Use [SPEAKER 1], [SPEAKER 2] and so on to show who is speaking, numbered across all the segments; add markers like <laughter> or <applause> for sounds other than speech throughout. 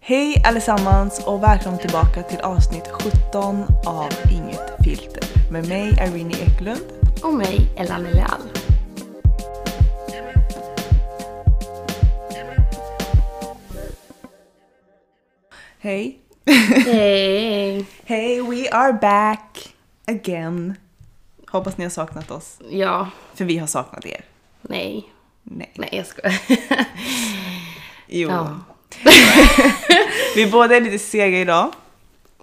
[SPEAKER 1] Hej allesammans och välkomna tillbaka till avsnitt 17 av Inget filter med mig Irene Eklund.
[SPEAKER 2] Och mig, Elan Leal.
[SPEAKER 1] Hej!
[SPEAKER 2] Hej!
[SPEAKER 1] Hej, we are back again. Hoppas ni har saknat oss,
[SPEAKER 2] Ja,
[SPEAKER 1] för vi har saknat er.
[SPEAKER 2] nej.
[SPEAKER 1] Nej.
[SPEAKER 2] Nej, jag skojar.
[SPEAKER 1] Jo.
[SPEAKER 2] Ja.
[SPEAKER 1] Vi båda är lite sega idag,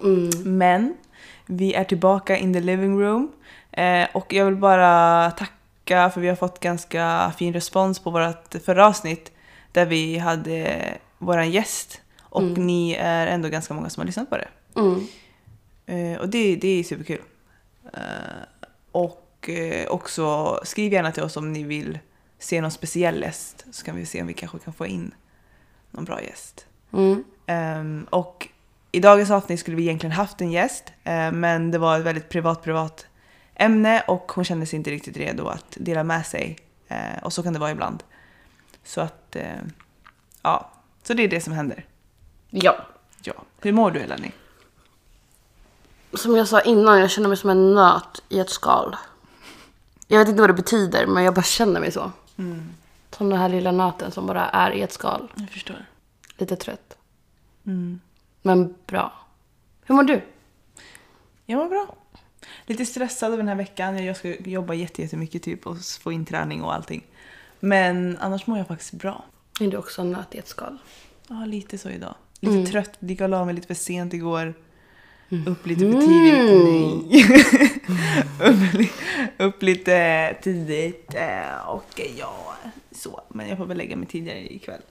[SPEAKER 2] Mm.
[SPEAKER 1] men vi är tillbaka in the living room. Eh, och jag vill bara tacka för vi har fått ganska fin respons på vårt förra avsnitt där vi hade våran gäst. Och ni är ändå ganska många som har lyssnat på det.
[SPEAKER 2] Mm.
[SPEAKER 1] Eh, och det, det är superkul. Eh, och eh, också skriv gärna till oss om ni vill se någon speciell gäst så kan vi se om vi kanske kan få in någon bra gäst.
[SPEAKER 2] Mm.
[SPEAKER 1] Ehm, och i dagens avsnitt skulle vi egentligen haft en gäst, eh, men det var ett väldigt privat, privat ämne och hon kände sig inte riktigt redo att dela med sig. Eh, och så kan det vara ibland. Så att, eh, ja. Så det är det som händer.
[SPEAKER 2] Ja.
[SPEAKER 1] Ja. Hur mår du Elani?
[SPEAKER 2] Som jag sa innan, jag känner mig som en nöt i ett skal. Jag vet inte vad det betyder, men jag bara känner mig så. Som den här lilla nöten som bara är i ett skal.
[SPEAKER 1] Jag förstår.
[SPEAKER 2] Lite trött. Mm. Men bra. Hur mår du?
[SPEAKER 1] Jag mår bra. Lite stressad över den här veckan. Jag ska jobba jätte- jättemycket typ och få in träning och allting. Men annars mår jag faktiskt bra.
[SPEAKER 2] Är du också en nöt i ett skal?
[SPEAKER 1] Ja, lite så idag. Lite trött. Gick och la mig lite för sent igår. Upp lite för tidigt. Nej. <laughs> upp, li- upp lite tidigt. eh, Och ja, så. Men jag får väl lägga mig tidigare ikväll.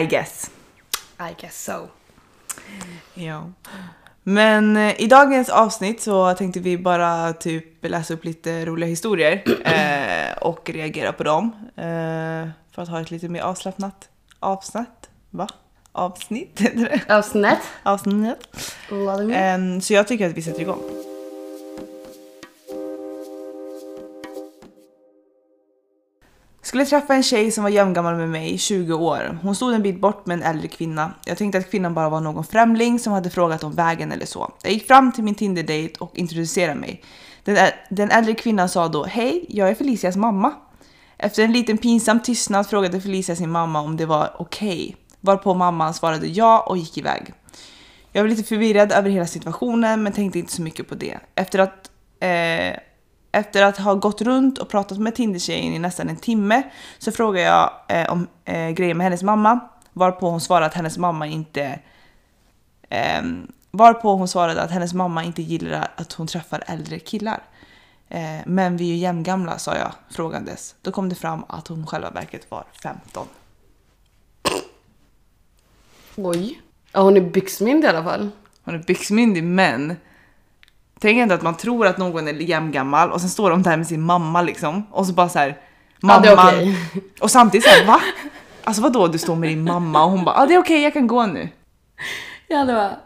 [SPEAKER 1] I guess.
[SPEAKER 2] I guess so.
[SPEAKER 1] Ja. Men eh, i dagens avsnitt så tänkte vi bara typ läsa upp lite roliga historier eh, och reagera på dem. Eh, för att ha ett lite mer avslappnat avsnitt. Va? Avsnitt heter det.
[SPEAKER 2] Avsnitt.
[SPEAKER 1] Avsnitt.
[SPEAKER 2] Eh.
[SPEAKER 1] Ehm, så jag tycker att vi sätter igång. Skulle träffa en tjej som var jämngammal med mig, 20 år. Hon stod en bit bort med en äldre kvinna. Jag tänkte att kvinnan bara var någon främling som hade frågat om vägen eller så. Jag gick fram till min Tinder-date och introducerade mig. Den, ä- den äldre kvinnan sa då “Hej, jag är Felicias mamma”. Efter en liten pinsam tystnad frågade Felicia sin mamma om det var okej. Varpå mamman svarade ja och gick iväg. Jag var lite förvirrad över hela situationen men tänkte inte så mycket på det. Efter att, eh, efter att ha gått runt och pratat med Tinder-tjejen i nästan en timme så frågade jag eh, om eh, grejer med hennes mamma varpå hon svarade att hennes mamma inte Ehm, varpå hon svarade att hennes mamma inte gillar att hon träffar äldre killar. Eh, men vi är ju jämngamla sa jag frågandes. Då kom det fram att hon själva verket var 15.
[SPEAKER 2] Oj. Ja, hon är byxmyndig i alla fall.
[SPEAKER 1] Hon är byxmyndig men tänk inte att man tror att någon är jämngammal och sen står de där med sin mamma liksom och så bara så här
[SPEAKER 2] Ja,
[SPEAKER 1] mamman
[SPEAKER 2] det är okej.
[SPEAKER 1] <laughs> och samtidigt så här va? Alltså vadå du står med din mamma och hon bara ah, det är okej jag kan gå nu.
[SPEAKER 2] Jag hade bara,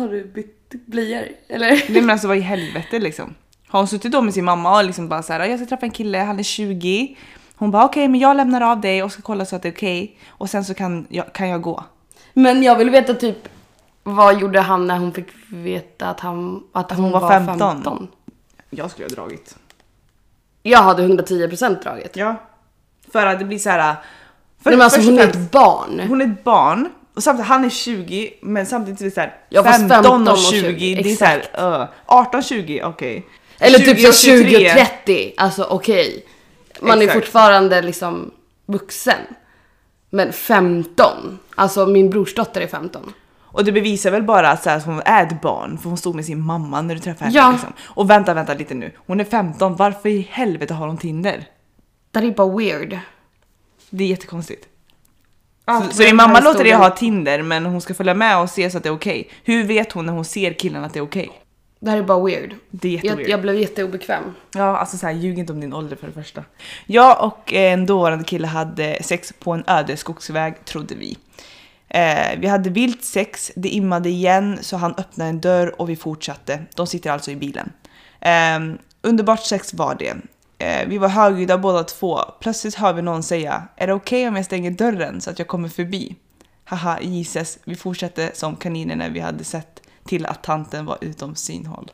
[SPEAKER 2] har du bytt blöjor? Eller?
[SPEAKER 1] Nej men alltså vad i helvete liksom. Har hon suttit då med sin mamma och liksom bara så här, jag ska träffa en kille, han är 20. Hon bara okej men jag lämnar av dig och ska kolla så att det är okej och sen så kan jag, kan jag gå.
[SPEAKER 2] Men jag vill veta typ, vad gjorde han när hon fick veta att, han, att, hon,
[SPEAKER 1] var
[SPEAKER 2] var
[SPEAKER 1] 15?
[SPEAKER 2] 15?
[SPEAKER 1] Jag skulle ha dragit.
[SPEAKER 2] Jag hade 110% draget.
[SPEAKER 1] Ja. För att det blir så här. För,
[SPEAKER 2] Nej men alltså
[SPEAKER 1] först och
[SPEAKER 2] hon är
[SPEAKER 1] främst-
[SPEAKER 2] ett barn.
[SPEAKER 1] Hon är ett barn och samtidigt, han är 20 men samtidigt är det såhär
[SPEAKER 2] Ja, fast
[SPEAKER 1] 15,
[SPEAKER 2] 15
[SPEAKER 1] och
[SPEAKER 2] och
[SPEAKER 1] 20,
[SPEAKER 2] 20,
[SPEAKER 1] det är såhär uh, 18, 20 okej.
[SPEAKER 2] Eller typ
[SPEAKER 1] 20 och
[SPEAKER 2] så 20 och
[SPEAKER 1] 23.
[SPEAKER 2] 30, alltså okej. Man är
[SPEAKER 1] Exakt.
[SPEAKER 2] fortfarande liksom vuxen. Men 15, alltså min brorsdotter är 15.
[SPEAKER 1] Och det bevisar väl bara att, så här, att hon är ett barn för hon stod med sin mamma när du träffade henne
[SPEAKER 2] Ja.
[SPEAKER 1] liksom. Och vänta, vänta lite nu. Hon är 15, varför i helvete har hon Tinder?
[SPEAKER 2] Det här är bara weird.
[SPEAKER 1] Det är jättekonstigt.
[SPEAKER 2] Allt
[SPEAKER 1] så så
[SPEAKER 2] med
[SPEAKER 1] din
[SPEAKER 2] den här
[SPEAKER 1] mamma låter dig
[SPEAKER 2] historien.
[SPEAKER 1] ha Tinder men hon ska följa med och se så att det är okej. Hur vet hon när hon ser killen att det är okej?
[SPEAKER 2] Det här är bara weird.
[SPEAKER 1] Det är jätteweird.
[SPEAKER 2] Jag, jag blev jätteobekväm.
[SPEAKER 1] Ja, alltså så här, ljug inte om din ålder för det första. Jag och eh, en dåvarande kille hade sex på en öde skogsväg, trodde vi. Eh, vi hade vilt sex, det immade igen så han öppnade en dörr och vi fortsatte. De sitter alltså i bilen. Eh, underbart sex var det. Eh, vi var högljudda båda två. Plötsligt hör vi någon säga “Är det okej om jag stänger dörren så att jag kommer förbi?” Haha, Jesus. Vi fortsatte som kaniner när vi hade sett till att tanten var utom synhåll.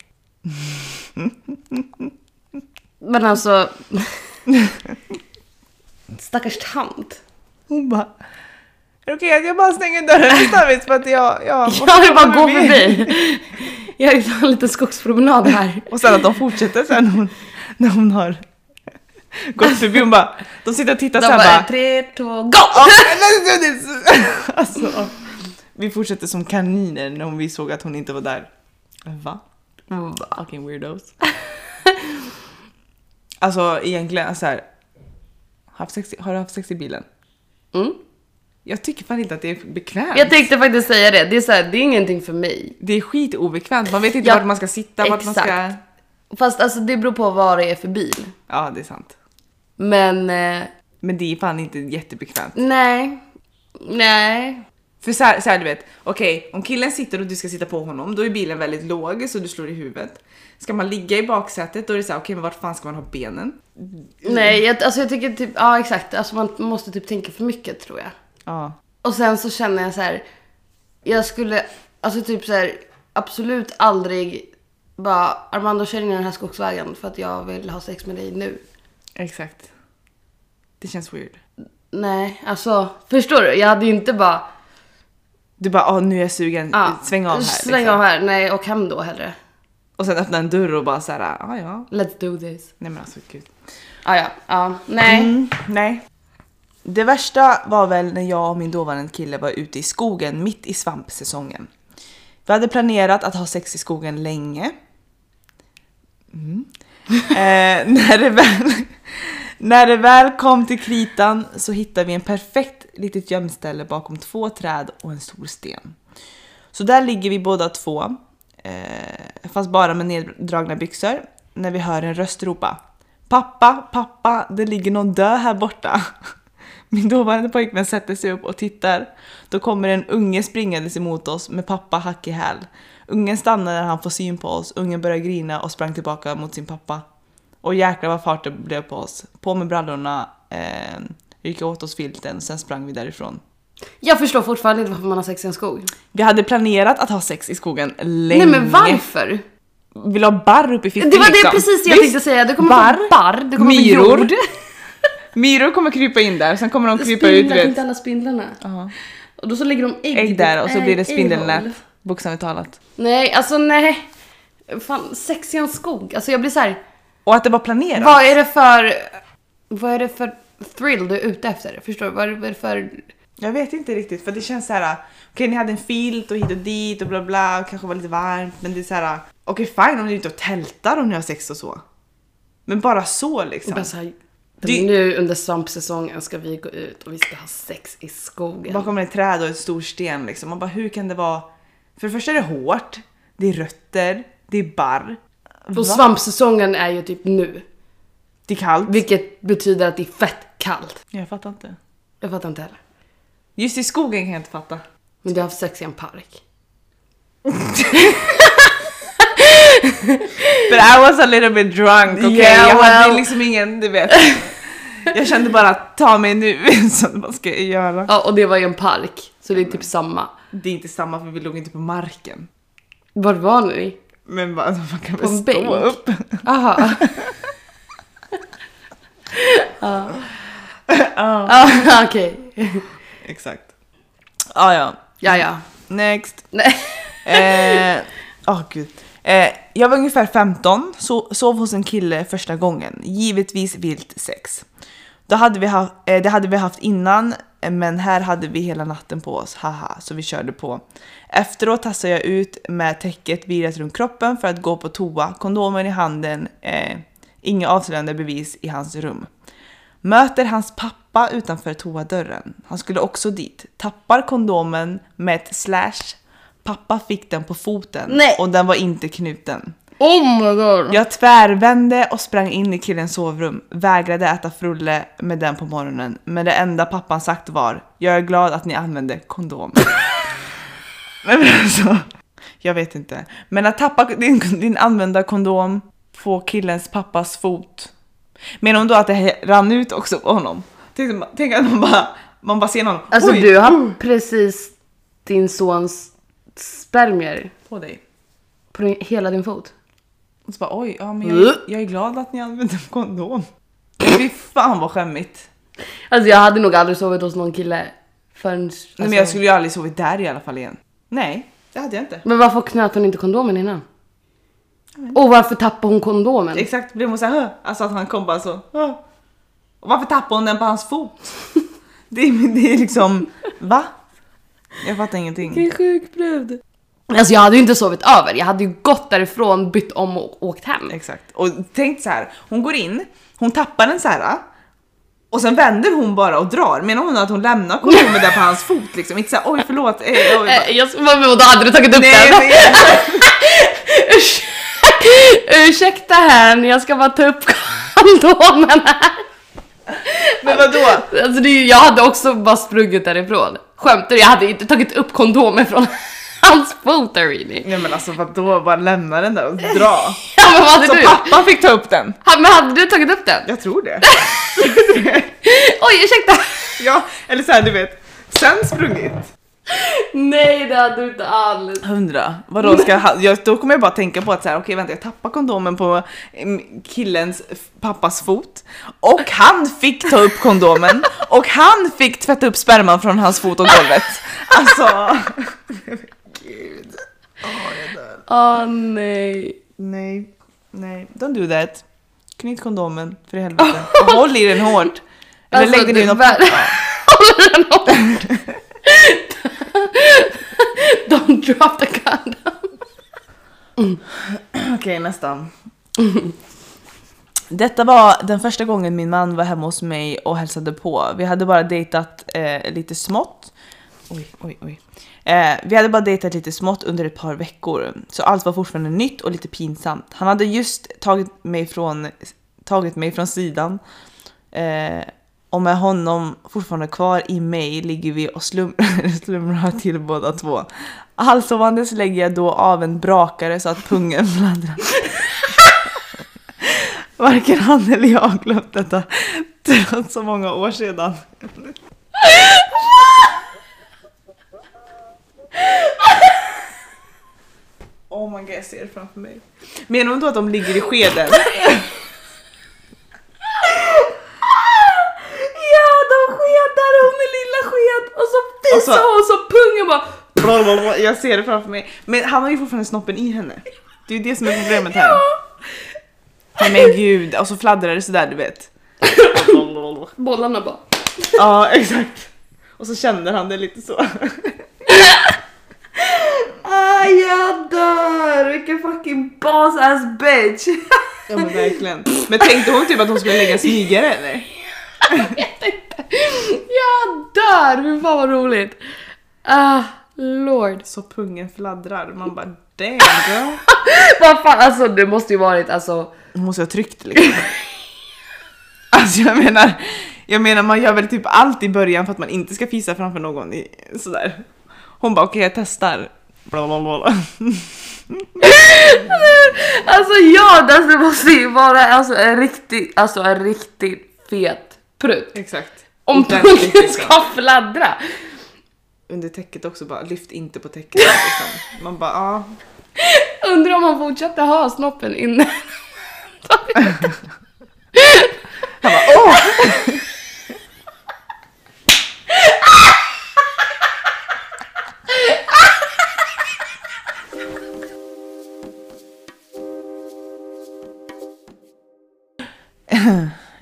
[SPEAKER 2] Men <laughs> alltså... Stackars tant.
[SPEAKER 1] Hon bara... Är det okej att jag bara stänger dörren till Stavis för att jag...
[SPEAKER 2] <laughs>
[SPEAKER 1] Jag,
[SPEAKER 2] Jag vill bara gå förbi. <laughs> Jag vill ta en liten skogspromenad <laughs> här.
[SPEAKER 1] Och sen att de fortsätter sen hon, när hon har gått förbi. Hon bara... De sitter och tittar
[SPEAKER 2] De
[SPEAKER 1] sen bara...
[SPEAKER 2] bara, tre, två, go!
[SPEAKER 1] Ja, nej, nej, nej. alltså, vi fortsätter som kaniner när vi såg att hon inte var där. Va?
[SPEAKER 2] Mm.
[SPEAKER 1] Fucking weirdos. Alltså egentligen så här. Haft sex, i- har du haft sex i bilen?
[SPEAKER 2] Mm.
[SPEAKER 1] Jag tycker fan inte att det är bekvämt.
[SPEAKER 2] Jag tänkte faktiskt säga det, det är, så här, det är ingenting för mig.
[SPEAKER 1] det är skitobekvämt. Man vet inte
[SPEAKER 2] Ja,
[SPEAKER 1] vart man ska sitta, vart man ska...
[SPEAKER 2] exakt. Fast alltså det beror på vad det är för bil.
[SPEAKER 1] Ja, det är sant.
[SPEAKER 2] Men eh,
[SPEAKER 1] Men det är fan inte jättebekvämt.
[SPEAKER 2] nej, nej.
[SPEAKER 1] För så här, så här du vet, okej om killen sitter och du ska sitta på honom då är bilen väldigt låg så du slår i huvudet. Ska man ligga i baksätet då är det så här, okej men vart fan ska man ha benen?
[SPEAKER 2] Nej, jag, alltså jag tycker typ, ja exakt, alltså man måste typ tänka för mycket tror jag.
[SPEAKER 1] Ja.
[SPEAKER 2] Och sen så känner jag så här, jag skulle, alltså typ så här, absolut aldrig bara Armando kör in i den här skogsvägen för att jag vill ha sex med dig nu.
[SPEAKER 1] Exakt. Det känns weird.
[SPEAKER 2] Nej, alltså förstår du? Jag hade ju inte bara
[SPEAKER 1] Du bara, ah nu är jag sugen,
[SPEAKER 2] ja,
[SPEAKER 1] sväng av här.
[SPEAKER 2] Sväng
[SPEAKER 1] liksom.
[SPEAKER 2] av här, nej och hem då hellre.
[SPEAKER 1] Och sen öppna en dörr och bara så här, ah ja.
[SPEAKER 2] Let's do this.
[SPEAKER 1] Nej men alltså gud.
[SPEAKER 2] Ah, ja, ja, nej.
[SPEAKER 1] Mm, nej. Det värsta var väl när jag och min dåvarande kille var ute i skogen mitt i svampsäsongen. Vi hade planerat att ha sex i skogen länge. Mm. Eh, när, det väl, <laughs> när det väl kom till kritan så hittade vi en perfekt litet gömställe bakom två träd och en stor sten. Så där ligger vi båda två, eh, fast bara med neddragna byxor, när vi hör en röst ropa “Pappa, pappa, det ligger någon död här borta!” <laughs> Min dåvarande pojkvän sätter sig upp och tittar. Då kommer en unge springandes emot oss med pappa hack i häl. Ungen stannar när han får syn på oss, ungen börjar grina och sprang tillbaka mot sin pappa. Och jäklar vad fart det blev på oss. På med brallorna, eh, rycka åt oss filten, sen sprang vi därifrån.
[SPEAKER 2] Jag förstår fortfarande inte varför man har sex i en skog.
[SPEAKER 1] Vi hade planerat att ha sex i skogen länge.
[SPEAKER 2] Nej men varför?
[SPEAKER 1] Vill ha barr upp i
[SPEAKER 2] Det
[SPEAKER 1] fickan
[SPEAKER 2] var det
[SPEAKER 1] liksom.
[SPEAKER 2] precis jag
[SPEAKER 1] Visst,
[SPEAKER 2] tänkte säga. Det kommer
[SPEAKER 1] Barr,
[SPEAKER 2] från barr, det kommer
[SPEAKER 1] myror,
[SPEAKER 2] från jord.
[SPEAKER 1] <laughs> Myror kommer krypa in där, sen kommer de krypa
[SPEAKER 2] Spindlar,
[SPEAKER 1] ut du vet.
[SPEAKER 2] inte alla spindlarna.
[SPEAKER 1] Ja.
[SPEAKER 2] Och då så lägger de ägg. typ
[SPEAKER 1] Ägg där och så
[SPEAKER 2] Nej,
[SPEAKER 1] blir det
[SPEAKER 2] ägghål.
[SPEAKER 1] spindelnät. Bokstavligt talat.
[SPEAKER 2] Nej, alltså nej. Fan, sex i en skog. Alltså jag blir så här.
[SPEAKER 1] Och att det var planerat.
[SPEAKER 2] vad är det för... Vad är det för thrill du är ute efter? Förstår du? Vad är det för...
[SPEAKER 1] Jag vet inte riktigt för det känns så här. okej ni hade en filt och hit och dit och bla bla och kanske var lite varmt men det är så här. okej fine om ni är ute och tältar om ni har sex och så. Men bara så liksom.
[SPEAKER 2] Bara så här,
[SPEAKER 1] Det-
[SPEAKER 2] Nu under svampsäsongen ska vi gå ut och vi ska ha sex i skogen.
[SPEAKER 1] Bakom ett träd och en stor sten liksom. Man bara hur kan det vara? För det första är det hårt, det är rötter, det är barr.
[SPEAKER 2] Och svampsäsongen är ju typ nu.
[SPEAKER 1] Det är kallt.
[SPEAKER 2] Vilket betyder att det är fett kallt.
[SPEAKER 1] Jag fattar inte.
[SPEAKER 2] Jag fattar inte heller.
[SPEAKER 1] Just i skogen kan jag inte fatta.
[SPEAKER 2] Men du har haft sex i en park.
[SPEAKER 1] But I was a little bit drunk, okay?
[SPEAKER 2] Yeah,
[SPEAKER 1] jag hade
[SPEAKER 2] well.
[SPEAKER 1] liksom ingen, du vet. Jag kände bara ta mig nu, <laughs> så vad ska jag göra?
[SPEAKER 2] Ja, och det var ju en park. Så det är typ samma.
[SPEAKER 1] Det är inte samma för vi låg inte på marken.
[SPEAKER 2] Var var ni?
[SPEAKER 1] Men bara, man kan
[SPEAKER 2] På
[SPEAKER 1] väl
[SPEAKER 2] en
[SPEAKER 1] stå
[SPEAKER 2] bänk.
[SPEAKER 1] upp.
[SPEAKER 2] Aha.
[SPEAKER 1] Ja,
[SPEAKER 2] <laughs> Ah, Okej.
[SPEAKER 1] exakt. Ah, ja,
[SPEAKER 2] Ja, ja.
[SPEAKER 1] next.
[SPEAKER 2] Nej.
[SPEAKER 1] Eh, åh, gud. Eh, jag var ungefär 15, so sov hos en kille första gången. Givetvis vilt sex. Då hade vi ha eh, det hade vi haft innan, eh, men här hade vi hela natten på oss, haha, så vi körde på. Efteråt tassade jag ut med täcket virat runt kroppen för att gå på toa, kondomen i handen, eh, inga avslöjande bevis i hans rum. Möter hans pappa utanför toadörren. Han skulle också dit. Tappar kondomen med ett slash. Pappa fick den på foten
[SPEAKER 2] Nej.
[SPEAKER 1] och den var inte knuten.
[SPEAKER 2] Oh my god.
[SPEAKER 1] Jag tvärvände och sprang in i killens sovrum, vägrade äta frulle med den på morgonen. Men det enda pappan sagt var “Jag är glad att ni använde kondom”. <laughs> Nej men alltså, jag vet inte. Men att tappa din, din använda kondom på killens pappas fot. Menar hon då att det rann ut också på honom? Tänk, tänk att man bara Man bara ser någon.
[SPEAKER 2] Alltså
[SPEAKER 1] Oj! Mm.
[SPEAKER 2] du har precis din sons spermier
[SPEAKER 1] På dig.
[SPEAKER 2] på din, hela din fot.
[SPEAKER 1] Och så bara oj, ja, men jag, jag är glad att ni använde kondom. Fy fan vad skämmigt.
[SPEAKER 2] Alltså jag hade nog aldrig sovit hos någon kille förrän... Alltså,
[SPEAKER 1] Nej, men jag skulle ju aldrig sovit där i alla fall igen. Nej, det hade jag inte.
[SPEAKER 2] men varför knöt hon inte kondomen innan? Och varför tappade hon kondomen?
[SPEAKER 1] Exakt, blev hon såhär "Hö?" Alltså att han kom bara så "Hö?" Och varför tappade hon den på hans fot? <laughs> Det är, det är liksom, va? Jag fattar ingenting.
[SPEAKER 2] Vilken sjuk brud. Alltså jag hade ju inte sovit över, jag hade ju gått därifrån, bytt om och åkt hem.
[SPEAKER 1] Exakt. Och tänk så här, hon går in, hon tappar den så här. Och sen vänder hon bara och drar. Menar hon att hon lämnar kondomen där på hans fot liksom? Inte såhär oj förlåt. Eh, oj, bara,
[SPEAKER 2] Eh, Jag, vad- vadå, hade du tagit upp
[SPEAKER 1] Nej,
[SPEAKER 2] den?
[SPEAKER 1] men jag-
[SPEAKER 2] Urs- <laughs> Ursäkta här, jag ska bara ta upp kondomen här.
[SPEAKER 1] men vadå?
[SPEAKER 2] Alltså det, är ju- jag hade också bara sprungit därifrån. Skämtar du? Jag hade inte tagit upp kondomen från <laughs> hans fot Arini.
[SPEAKER 1] Nej men alltså vadå, bara lämna den där och dra.
[SPEAKER 2] Ja men vad hade
[SPEAKER 1] Så
[SPEAKER 2] du?
[SPEAKER 1] Alltså, pappa fick ta upp den?
[SPEAKER 2] Ha- Men hade du tagit upp den?
[SPEAKER 1] Jag tror <laughs> det.
[SPEAKER 2] <laughs> Oj ursäkta!
[SPEAKER 1] Ja, eller såhär du vet, sen sprungit.
[SPEAKER 2] Nej det hade du inte alls.
[SPEAKER 1] Hundra. Vadå ska han, jag, då kommer jag bara tänka på att så här, okej vänta jag tappar kondomen på mm, killens f- pappas fot och han fick ta upp kondomen och han fick tvätta upp sperman från hans fot och golvet. Alltså. Gud.
[SPEAKER 2] Åh nej.
[SPEAKER 1] Nej, nej, don't do that. Knyt kondomen för i helvete. Och håll i den hårt. Eller
[SPEAKER 2] Alltså,
[SPEAKER 1] lägg den i
[SPEAKER 2] du
[SPEAKER 1] något...
[SPEAKER 2] bär-
[SPEAKER 1] Ja.
[SPEAKER 2] Håller den hårt. Don't drop the condom.
[SPEAKER 1] Okej, nästan. Detta var den första gången min man var hemma hos mig och hälsade på. Vi hade bara dejtat eh, lite smått. Oj, oj, oj. Eh, vi hade bara dejtat lite smått under ett par veckor. Så allt var fortfarande nytt och lite pinsamt. Han hade just tagit mig från, tagit mig från sidan. Eh, och med honom fortfarande kvar i mig ligger vi och slum <laughs> slumrar till båda två. Halsovandes lägger jag då av en brakare så att pungen fladdrar. <laughs> Varken han eller jag har glömt detta trots så många år sedan. <laughs> Oh my god, jag ser det framför mig. Menar du då att de ligger i skeden?
[SPEAKER 2] <laughs> Ja, de skedar och med lilla sked och så
[SPEAKER 1] Och så-
[SPEAKER 2] fissar
[SPEAKER 1] Alltså-
[SPEAKER 2] hon så pungen bara
[SPEAKER 1] Blablabla, Jag ser det framför mig. Men han har ju fortfarande snoppen i henne. Det är ju det som är problemet här. Nej men gud, och så fladdrar det sådär du vet.
[SPEAKER 2] bollarna bara.
[SPEAKER 1] Ja exakt. Och så känner han det lite så.
[SPEAKER 2] Ah, jag dör! Vilken fucking boss ass bitch! <laughs>
[SPEAKER 1] Ja men verkligen. Men tänkte hon typ att hon skulle lägga en smygare eller?
[SPEAKER 2] Jag dör! Fy fan vad roligt! Ah, lord.
[SPEAKER 1] Så pungen fladdrar, man bara damn girl.
[SPEAKER 2] <laughs> Vad fan, alltså det måste ju varit alltså...
[SPEAKER 1] Hon måste ha tryckt liksom. Alltså jag menar, jag menar man gör väl typ allt i början för att man inte ska fisa framför någon i, sådär. Hon bara okej jag testar. Blablabla.
[SPEAKER 2] Alltså ja, alltså, det måste ju vara alltså en riktig, alltså en riktigt fet prutt.
[SPEAKER 1] Exakt.
[SPEAKER 2] Om
[SPEAKER 1] Inte ens
[SPEAKER 2] pungen
[SPEAKER 1] riktigt,
[SPEAKER 2] ska fladdra.
[SPEAKER 1] Under täcket också bara, lyft inte på täcket. Liksom. Man bara ja.
[SPEAKER 2] Undrar om han fortsatte ha snoppen inne.
[SPEAKER 1] Han bara åh!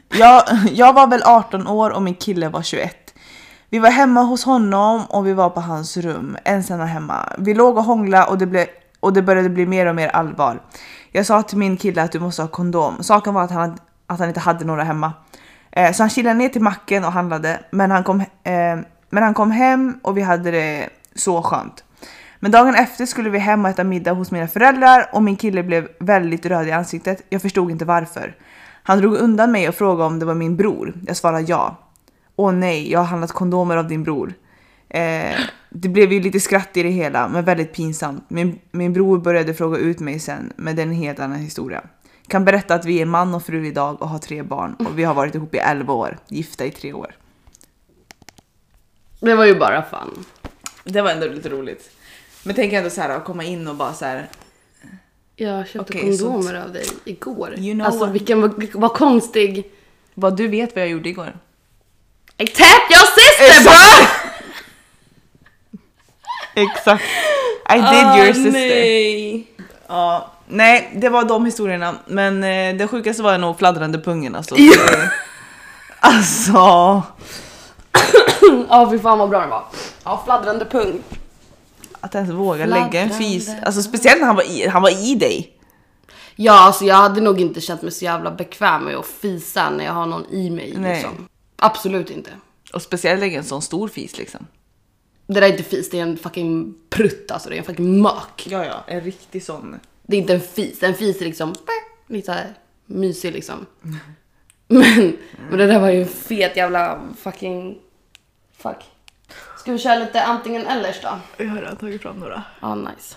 [SPEAKER 1] Jag, jag var väl 18 år och min kille var 21. Vi var hemma hos honom och vi var på hans rum, ensamma hemma. Vi låg och hånglade och det, blev, och det började bli mer och mer allvar. Jag sa till min kille att du måste ha kondom. Saken var att han, att han inte hade några hemma. Eh, så han kilade ner till macken och handlade, men han, kom, eh, men han kom hem och vi hade det så skönt. Men dagen efter skulle vi hem och äta middag hos mina föräldrar och min kille blev väldigt röd i ansiktet. Jag förstod inte varför. Han drog undan mig och frågade om det var min bror. Jag svarade ja. Åh nej, jag har handlat kondomer av din bror. Eh, det blev ju lite skratt i det hela, men väldigt pinsamt. Min, min bror började fråga ut mig sen, men det är en helt annan historia. Kan berätta att vi är man och fru idag och har tre barn och vi har varit ihop i 11 år, gifta i tre år.
[SPEAKER 2] <laughs> Det var ju bara fan.
[SPEAKER 1] Det var ändå lite roligt. Men tänk ändå så här att komma in och bara så här.
[SPEAKER 2] Jag köpte
[SPEAKER 1] Okej,
[SPEAKER 2] kondomer av dig igår.
[SPEAKER 1] You know
[SPEAKER 2] alltså
[SPEAKER 1] what-
[SPEAKER 2] vilken vad, vad konstig.
[SPEAKER 1] Vad du vet vad jag gjorde igår.
[SPEAKER 2] I tapped your sister bro!
[SPEAKER 1] Exakt. I <laughs> did your sister. Ah, Nej.
[SPEAKER 2] Nej.
[SPEAKER 1] Ja, nej, det var de historierna. Men eh, det sjukaste var nog fladdrande pungen alltså. alltså.
[SPEAKER 2] <clears throat> Ja fy fan vad bra den var. Ja fladdrande pung.
[SPEAKER 1] Att ens våga lägga en fis.
[SPEAKER 2] Fladdrande.
[SPEAKER 1] Alltså speciellt när han var i, han var i dig.
[SPEAKER 2] Ja alltså jag hade nog inte känt mig så jävla bekväm med att fisa när jag har någon i mig
[SPEAKER 1] Nej.
[SPEAKER 2] liksom. Absolut inte.
[SPEAKER 1] Och speciellt lägga en sån stor fis liksom.
[SPEAKER 2] Det där är inte fis, det är en fucking prutt alltså. Det är en fucking mök.
[SPEAKER 1] Ja, ja, en riktig sån.
[SPEAKER 2] Det är inte en fis, en fis är liksom lite så här
[SPEAKER 1] <laughs>
[SPEAKER 2] mysig liksom. Men, men det där var ju en fet jävla fucking... Fuck. Ska vi köra lite antingen ellers då?
[SPEAKER 1] Jag har redan tagit fram några.
[SPEAKER 2] Ja, Ah, nice.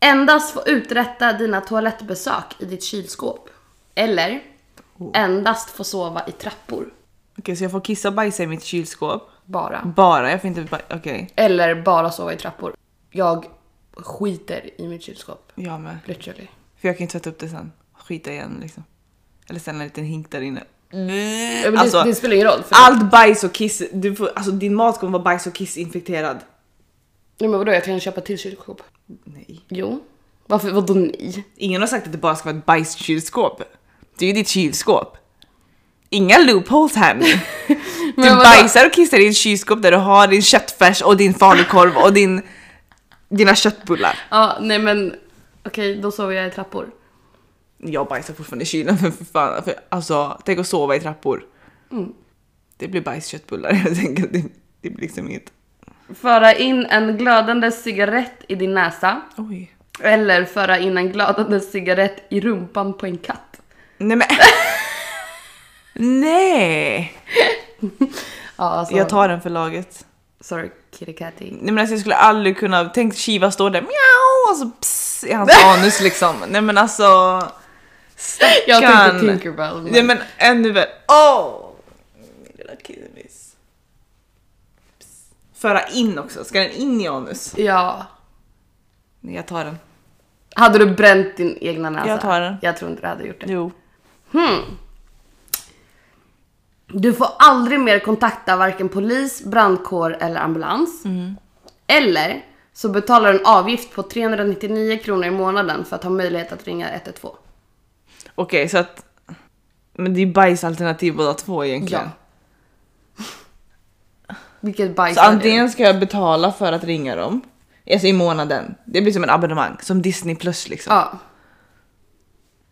[SPEAKER 2] Endast få uträtta dina toalettbesök i ditt kylskåp. Eller
[SPEAKER 1] Oh.
[SPEAKER 2] endast få sova i trappor.
[SPEAKER 1] Okej, så jag får kissa och bajsa i mitt kylskåp.
[SPEAKER 2] Bara.
[SPEAKER 1] Bara, jag får inte... ba- Okej,
[SPEAKER 2] Eller bara sova i trappor. Jag skiter i mitt kylskåp.
[SPEAKER 1] jag med.
[SPEAKER 2] Literally.
[SPEAKER 1] För jag kan ju tvätta upp det sen. Skita igen liksom. Eller ställa en liten hink där inne.
[SPEAKER 2] Ja, men det,
[SPEAKER 1] Alltså,
[SPEAKER 2] det spelar ingen roll. För
[SPEAKER 1] Allt bajs och kiss, du får, alltså din mat kommer vara bajs och kiss infekterad.
[SPEAKER 2] Nej, men vadå, jag kan köpa till kylskåp.
[SPEAKER 1] Nej.
[SPEAKER 2] Jo. Varför, vadå nej?
[SPEAKER 1] Ingen har sagt att det bara ska vara ett bajskylskåp. Det är ju ditt kylskåp. Inga loopholes här nu. Du
[SPEAKER 2] Men vadå?
[SPEAKER 1] bajsar och kissar i ditt kylskåp där du har din köttfärs och din falukorv och din, dina köttbullar.
[SPEAKER 2] Ja, nej men okej, då sover jag i trappor.
[SPEAKER 1] Jag bajsar fortfarande i kylen men för fan. För, alltså, tänk att sova i trappor. Det blir bajsköttbullar <laughs> helt enkelt. Det, det blir liksom inget.
[SPEAKER 2] Föra in en glödande cigarett i din näsa.
[SPEAKER 1] Oj.
[SPEAKER 2] Eller föra in en glödande cigarett i rumpan på en katt.
[SPEAKER 1] Nej men. <laughs> Nej!
[SPEAKER 2] Ja, alltså,
[SPEAKER 1] Jag tar den för laget.
[SPEAKER 2] Sorry, kitty catty.
[SPEAKER 1] Nej men alltså jag skulle aldrig kunna, tänk Shiva står där mjau och så pss, i <laughs> hans anus liksom. Nej men alltså. Stackarn.
[SPEAKER 2] Jag tänkte Tinkerbell.
[SPEAKER 1] Nej men ännu värre. Åh! Min lilla kismis. Pss. Föra in också, ska den in i anus?
[SPEAKER 2] Ja.
[SPEAKER 1] Nej jag tar den.
[SPEAKER 2] Hade du bränt din egna näsa?
[SPEAKER 1] Jag tar den.
[SPEAKER 2] Jag tror inte du hade gjort det.
[SPEAKER 1] Jo.
[SPEAKER 2] Du får aldrig mer kontakta varken polis, brandkår eller ambulans.
[SPEAKER 1] Mm.
[SPEAKER 2] Eller så betalar du en avgift på 399 kronor i månaden för att ha möjlighet att ringa 112.
[SPEAKER 1] Okej så att. Men det är bajsalternativ båda två egentligen.
[SPEAKER 2] Ja. Vilket bajs
[SPEAKER 1] Så
[SPEAKER 2] är det?
[SPEAKER 1] antingen ska jag betala för att ringa dem, alltså i månaden. Det blir som en abonnemang, som Disney plus liksom.
[SPEAKER 2] Ja.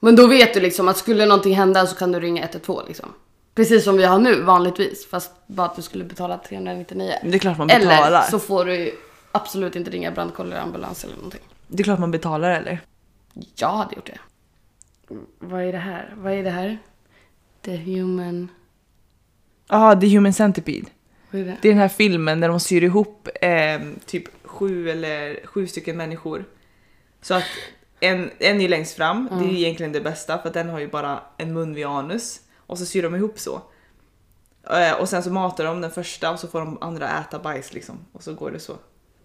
[SPEAKER 2] Men då vet du liksom att skulle någonting hända så kan du ringa 112 liksom. Precis som vi har nu vanligtvis fast bara att du skulle betala 399.
[SPEAKER 1] Men Det är klart man betalar.
[SPEAKER 2] Eller så får du ju absolut inte ringa brandkår eller ambulans eller någonting.
[SPEAKER 1] Det är klart man betalar eller?
[SPEAKER 2] Jag hade gjort det. Vad är det här? Vad är det här? The human...
[SPEAKER 1] Ja, The Human Centipede.
[SPEAKER 2] Vad är det?
[SPEAKER 1] Det är den här filmen där de syr ihop eh, typ sju eller sju stycken människor. Så att en, en är längst fram, det är ju egentligen det bästa för att den har ju bara en mun vid anus. Och så syr de ihop så. Eh, och sen så matar de den första och så får de andra äta bajs liksom. Och så går det så.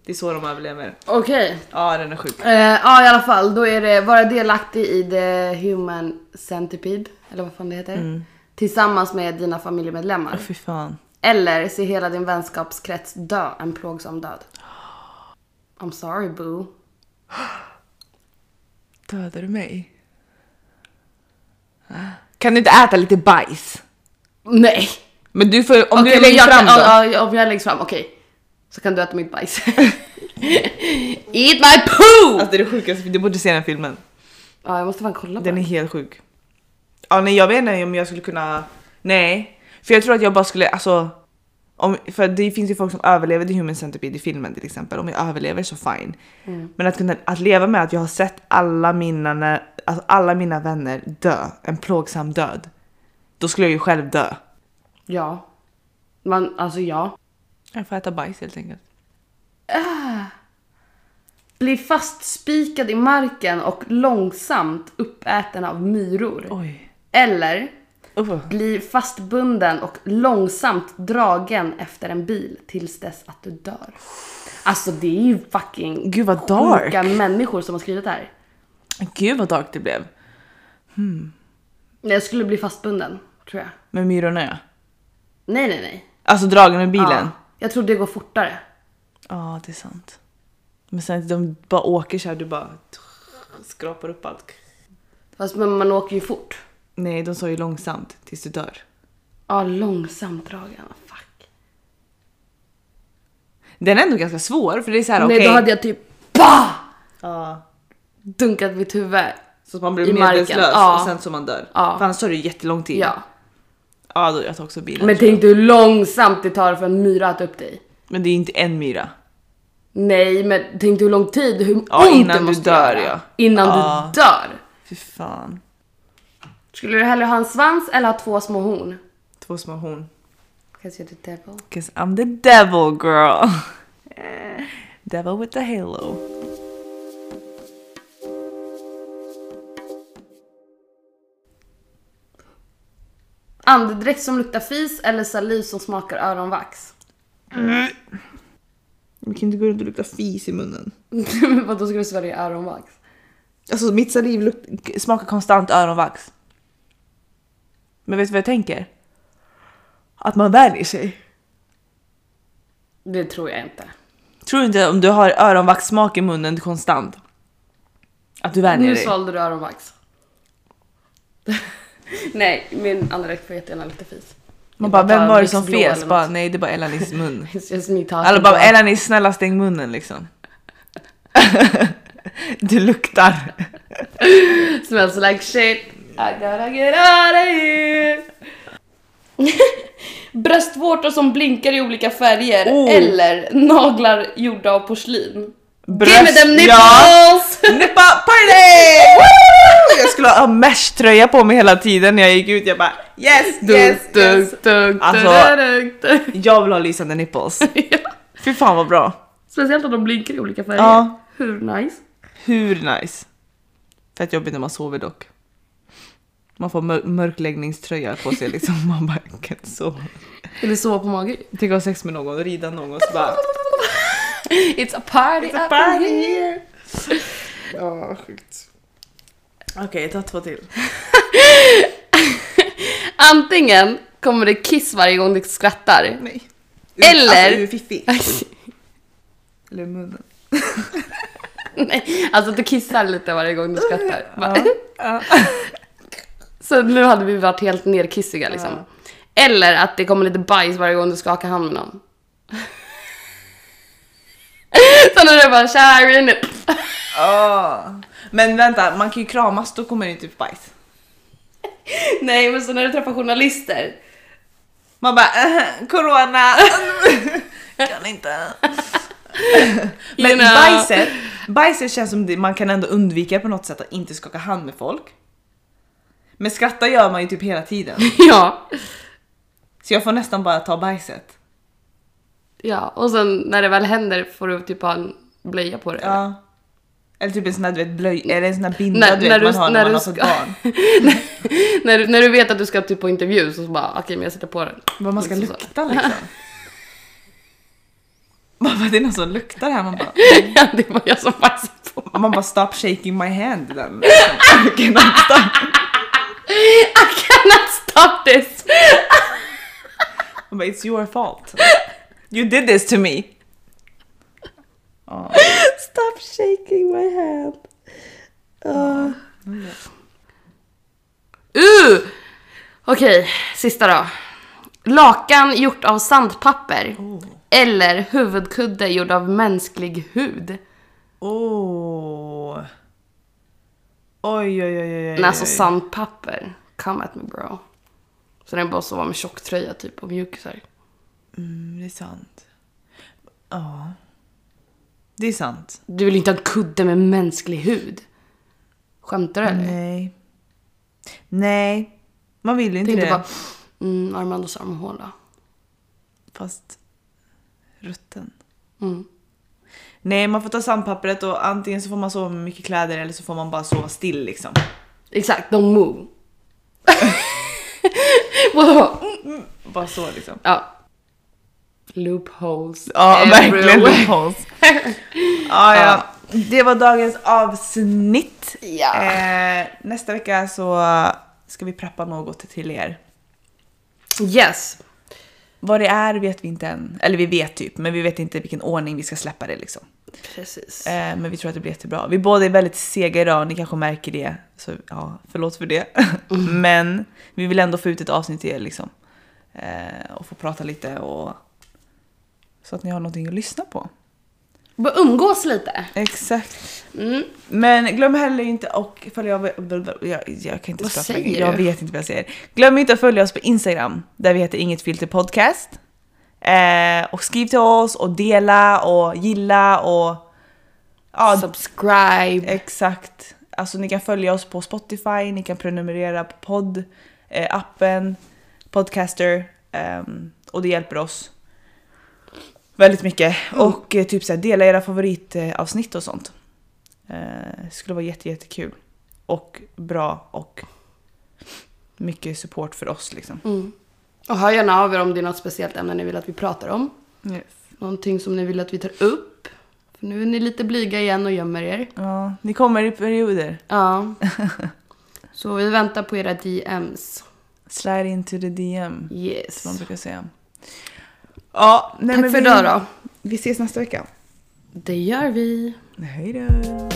[SPEAKER 1] Det är så de överlever.
[SPEAKER 2] Okej.
[SPEAKER 1] Ja, den är sjuk.
[SPEAKER 2] Eh, ja i alla fall, då är det vara delaktig i the human centipede, eller vad fan det heter.
[SPEAKER 1] Mm.
[SPEAKER 2] Tillsammans med dina familjemedlemmar.
[SPEAKER 1] Fy fan.
[SPEAKER 2] Eller se hela din vänskapskrets dö en plågsam död. I'm sorry boo.
[SPEAKER 1] Dödar du mig? Kan du inte äta lite bajs?
[SPEAKER 2] Nej!
[SPEAKER 1] Men du får, om
[SPEAKER 2] Okej,
[SPEAKER 1] du är
[SPEAKER 2] men
[SPEAKER 1] längst
[SPEAKER 2] jag
[SPEAKER 1] fram
[SPEAKER 2] kan,
[SPEAKER 1] då?
[SPEAKER 2] ja, ja, Om jag är längst fram, okej. Så kan du äta
[SPEAKER 1] <laughs>
[SPEAKER 2] mitt bajs. Eat my poo!
[SPEAKER 1] Alltså det är det sjukaste, du borde se den här filmen.
[SPEAKER 2] Ja, jag måste fan kolla på
[SPEAKER 1] Den är
[SPEAKER 2] den.
[SPEAKER 1] helt sjuk. Ja nej jag vet inte om jag skulle kunna, nej. För jag tror att jag bara skulle, alltså. Om, för det finns ju folk som överlever The Human Centipede i filmen till exempel. Om jag överlever så fine. Men att kunna, att leva med att jag har sett alla mina, när- alltså alla mina vänner dö, en plågsam död. Då skulle jag ju själv dö.
[SPEAKER 2] Ja. Man, alltså ja.
[SPEAKER 1] Jag får äta bajs helt enkelt.
[SPEAKER 2] Bli fastspikad i marken och långsamt uppäten av myror.
[SPEAKER 1] Oj.
[SPEAKER 2] Eller
[SPEAKER 1] Uh.
[SPEAKER 2] Bli fastbunden och långsamt dragen efter en bil tills dess att du dör. Alltså det är ju fucking
[SPEAKER 1] Gud, vad
[SPEAKER 2] sjuka
[SPEAKER 1] dark.
[SPEAKER 2] människor som har skrivit det här.
[SPEAKER 1] Gud vad dark det blev.
[SPEAKER 2] Nej, Jag skulle bli fastbunden, tror jag.
[SPEAKER 1] Med myrorna ja.
[SPEAKER 2] Nej, nej, nej.
[SPEAKER 1] Alltså dragen med bilen.
[SPEAKER 2] Ja, jag tror det går fortare.
[SPEAKER 1] Ja, det är sant. Men sen de bara åker så här, du bara skrapar upp allt.
[SPEAKER 2] Fast men man åker ju fort.
[SPEAKER 1] Nej, de sa ju långsamt tills du dör.
[SPEAKER 2] Ja, långsamt dragen. Fuck.
[SPEAKER 1] Den är ändå ganska svår för det är så här okej.
[SPEAKER 2] Nej, då hade jag typ bah!
[SPEAKER 1] Ja.
[SPEAKER 2] dunkat mitt huvud.
[SPEAKER 1] Så att man blir
[SPEAKER 2] I marken,
[SPEAKER 1] medvetslös
[SPEAKER 2] ja.
[SPEAKER 1] och sen så man dör.
[SPEAKER 2] Ja.
[SPEAKER 1] För annars tar det ju jättelång tid.
[SPEAKER 2] Ja.
[SPEAKER 1] ja då, jag tar också bilen.
[SPEAKER 2] Men
[SPEAKER 1] tror jag.
[SPEAKER 2] tänk du hur långsamt det tar för en myra att äta upp dig.
[SPEAKER 1] men det är inte en myra.
[SPEAKER 2] Nej, men tänk du hur lång tid, hur
[SPEAKER 1] Ja,
[SPEAKER 2] ont
[SPEAKER 1] innan
[SPEAKER 2] det
[SPEAKER 1] du
[SPEAKER 2] måste
[SPEAKER 1] dör,
[SPEAKER 2] göra.
[SPEAKER 1] ja.
[SPEAKER 2] Innan
[SPEAKER 1] Ja.
[SPEAKER 2] du dör.
[SPEAKER 1] Fy fan.
[SPEAKER 2] Skulle du hellre ha en svans eller ha två små horn?
[SPEAKER 1] Två små horn.
[SPEAKER 2] Cause you're the devil.
[SPEAKER 1] Cause I'm the devil girl.
[SPEAKER 2] Eh.
[SPEAKER 1] devil with the halo.
[SPEAKER 2] Andedräkt som luktar fis eller saliv som smakar öronvax? <laughs>
[SPEAKER 1] Vi kan inte gå runt och lukta fis i munnen.
[SPEAKER 2] Men Vadå ska du svälja öronvax?
[SPEAKER 1] Alltså mitt saliv luk- smakar konstant öronvax. Men vet du vad jag tänker? Att man vänjer sig.
[SPEAKER 2] Det tror jag inte.
[SPEAKER 1] Tror du inte om du har öronvaxsmak i munnen konstant? Att du vänjer
[SPEAKER 2] Nu
[SPEAKER 1] dig?
[SPEAKER 2] svalde du öronvax. <laughs> Nej, min andedräkt får jättegärna lukta fis. <laughs>
[SPEAKER 1] Man bara,
[SPEAKER 2] Jag tar
[SPEAKER 1] vem var det som
[SPEAKER 2] Mixblå
[SPEAKER 1] fes?
[SPEAKER 2] eller
[SPEAKER 1] Bara,
[SPEAKER 2] något.
[SPEAKER 1] nej det är bara Elanis
[SPEAKER 2] <laughs>
[SPEAKER 1] mun.
[SPEAKER 2] It's just me talking.
[SPEAKER 1] Alla bara,
[SPEAKER 2] about-
[SPEAKER 1] Elanis snälla stäng munnen liksom. <laughs> du luktar.
[SPEAKER 2] Smells like shit. I gotta get out of here. <laughs> Bröstvårtor som blinkar i olika färger
[SPEAKER 1] Oh.
[SPEAKER 2] eller naglar gjorda av porslin. Give me
[SPEAKER 1] Bröst-
[SPEAKER 2] them
[SPEAKER 1] ja.
[SPEAKER 2] nipples!
[SPEAKER 1] Nippa party! Woo! Jag skulle ha en mesh-tröja på mig hela tiden när jag gick ut. Jag bara yes, <laughs> yes,
[SPEAKER 2] Dunk,
[SPEAKER 1] yes.
[SPEAKER 2] dunk, dunk,
[SPEAKER 1] Alltså-
[SPEAKER 2] dunk, dunk.
[SPEAKER 1] Jag vill ha lysande nipples.
[SPEAKER 2] Ja.
[SPEAKER 1] Fy fan vad bra.
[SPEAKER 2] Speciellt om de blinkar i olika färger.
[SPEAKER 1] Ja.
[SPEAKER 2] Hur nice?
[SPEAKER 1] Hur nice. Fett jobbigt när man sover dock. Man får mör- mörkläggningströja på sig liksom. <laughs> Man bara jag kan inte sova.
[SPEAKER 2] Eller sova på mage.
[SPEAKER 1] Tänk att ha sex med någon och rida någon och så <laughs> bara...
[SPEAKER 2] <laughs> It's a party
[SPEAKER 1] It's a
[SPEAKER 2] up
[SPEAKER 1] party.
[SPEAKER 2] in here.
[SPEAKER 1] Ja, sjukt. Okej, jag tar två till.
[SPEAKER 2] Antingen kommer det kiss varje gång du <laughs> skrattar.
[SPEAKER 1] Nej.
[SPEAKER 2] Eller-
[SPEAKER 1] Alltså, ur fiffi. Eller ur munnen.
[SPEAKER 2] <laughs> Nej, alltså att du kissar lite varje gång du skrattar. Bara-
[SPEAKER 1] Ja. Ja.
[SPEAKER 2] Så nu hade vi varit helt nerkissiga liksom. Eller att det kommer lite bajs varje gång du skakar hand med någon. <laughs> Så när du bara “tja, Irene”. <laughs> nu."
[SPEAKER 1] Ah. Men vänta, man kan ju kramas, då kommer det ju typ bajs.
[SPEAKER 2] Nej, men så när du träffar journalister.
[SPEAKER 1] Man bara, <laughs> "Eh,
[SPEAKER 2] <laughs>
[SPEAKER 1] corona. kan inte. Men
[SPEAKER 2] You know.
[SPEAKER 1] bajset, bajset känns som det, man kan ändå undvika på något sätt att inte skaka hand med folk. Men skratta gör man ju typ hela tiden.
[SPEAKER 2] <laughs> Ja.
[SPEAKER 1] Så jag får nästan bara ta bajset.
[SPEAKER 2] Ja, och sen när det väl händer får du typ ha en blöja på dig.
[SPEAKER 1] Ja. Eller typ en sån här du vet, blöj, eller en sån här binda
[SPEAKER 2] När-
[SPEAKER 1] du vet,
[SPEAKER 2] när du-
[SPEAKER 1] man har när, man
[SPEAKER 2] när du
[SPEAKER 1] har fått
[SPEAKER 2] ska-
[SPEAKER 1] barn.
[SPEAKER 2] <laughs> när, du, när du vet att du ska typ på intervju så bara “okej, men jag sätter på den”.
[SPEAKER 1] Vad man ska
[SPEAKER 2] Liksom <laughs> så.
[SPEAKER 1] lukta liksom. <laughs> Man bara, det är någon som luktar här. Man bara,
[SPEAKER 2] <laughs> Ja, det var jag som bajsade på mig.
[SPEAKER 1] Man bara stop shaking my hand. Then. Liksom. <laughs> Jag kan inte stoppa.
[SPEAKER 2] I cannot stop this!
[SPEAKER 1] Man bara, It's your fault. <laughs> You did this to me. Ja.
[SPEAKER 2] Stop shaking my hand. Uh. Uh! Okej, sista då. Lakan gjort av sandpapper.
[SPEAKER 1] Oh.
[SPEAKER 2] Eller huvudkudde gjord av mänsklig hud.
[SPEAKER 1] Åh. Oh. Oj, oj, oj, oj, oj.
[SPEAKER 2] Men alltså
[SPEAKER 1] oj.
[SPEAKER 2] sandpapper. Come at me bro. Så den bara att sova med tjocktröja typ och mjukisar.
[SPEAKER 1] Mm, det är sant. Ja. Det är sant.
[SPEAKER 2] Du vill inte ha en kudde med mänsklig hud? Skämtar du eller?
[SPEAKER 1] Nej. Nej. Man vill ju inte
[SPEAKER 2] Tänkte
[SPEAKER 1] det.
[SPEAKER 2] bara, mm, Armandos armhåla.
[SPEAKER 1] Fast rutten.
[SPEAKER 2] Mm.
[SPEAKER 1] Nej, man får ta sandpappret och antingen så får man sova med mycket kläder eller så får man bara sova still liksom.
[SPEAKER 2] Exakt, don't move. <laughs> Wow.
[SPEAKER 1] Bara så liksom.
[SPEAKER 2] Ja. Loopholes.
[SPEAKER 1] Ja, verkligen
[SPEAKER 2] everywhere.
[SPEAKER 1] loopholes. ja, ja. Det var dagens avsnitt.
[SPEAKER 2] Ja.
[SPEAKER 1] Eh, nästa vecka så ska vi preppa något till er.
[SPEAKER 2] Yes.
[SPEAKER 1] Vad det är vet vi inte än. Eller vi vet typ, men vi vet inte vilken ordning vi ska släppa det liksom.
[SPEAKER 2] Precis.
[SPEAKER 1] Eh, men vi tror att det blir jättebra. Vi båda är väldigt sega idag, ni kanske märker det. Så ja, förlåt för det. <laughs> men vi vill ändå få ut ett avsnitt till er liksom. Eh, och få prata lite och... Så att ni har någonting att lyssna på.
[SPEAKER 2] Bara umgås lite.
[SPEAKER 1] Exakt.
[SPEAKER 2] Mm.
[SPEAKER 1] Men glöm heller inte och följa... Jag, jag kan inte
[SPEAKER 2] Vad
[SPEAKER 1] prata
[SPEAKER 2] säger
[SPEAKER 1] längre.
[SPEAKER 2] du?
[SPEAKER 1] Jag vet inte vad jag säger. Glöm inte att följa oss på Instagram där vi heter Inget Filter Podcast. Eh, och skriv till oss och dela och gilla och... Ja,
[SPEAKER 2] Subscribe.
[SPEAKER 1] exakt. Alltså ni kan följa oss på Spotify, ni kan prenumerera på podd, eh, appen, podcaster. ehm, och det hjälper oss väldigt mycket.
[SPEAKER 2] Mm.
[SPEAKER 1] Och eh, typ så här, dela era favoritavsnitt och sånt. Eh, skulle vara jätte, jättekul. Och bra och mycket support för oss liksom.
[SPEAKER 2] Och hör gärna av er om det är något speciellt ämne ni vill att vi pratar om. Någonting som ni vill att vi tar upp. För nu är ni lite blyga igen och gömmer er.
[SPEAKER 1] Ja, ni kommer i perioder. <laughs>
[SPEAKER 2] Ja. Så vi väntar på era DMs.
[SPEAKER 1] Slide into the DM,
[SPEAKER 2] Yes.
[SPEAKER 1] som man brukar säga. Ja, nej,
[SPEAKER 2] Tack
[SPEAKER 1] men
[SPEAKER 2] för
[SPEAKER 1] vi-
[SPEAKER 2] idag då.
[SPEAKER 1] Vi ses nästa vecka.
[SPEAKER 2] Det gör vi.
[SPEAKER 1] Hej då!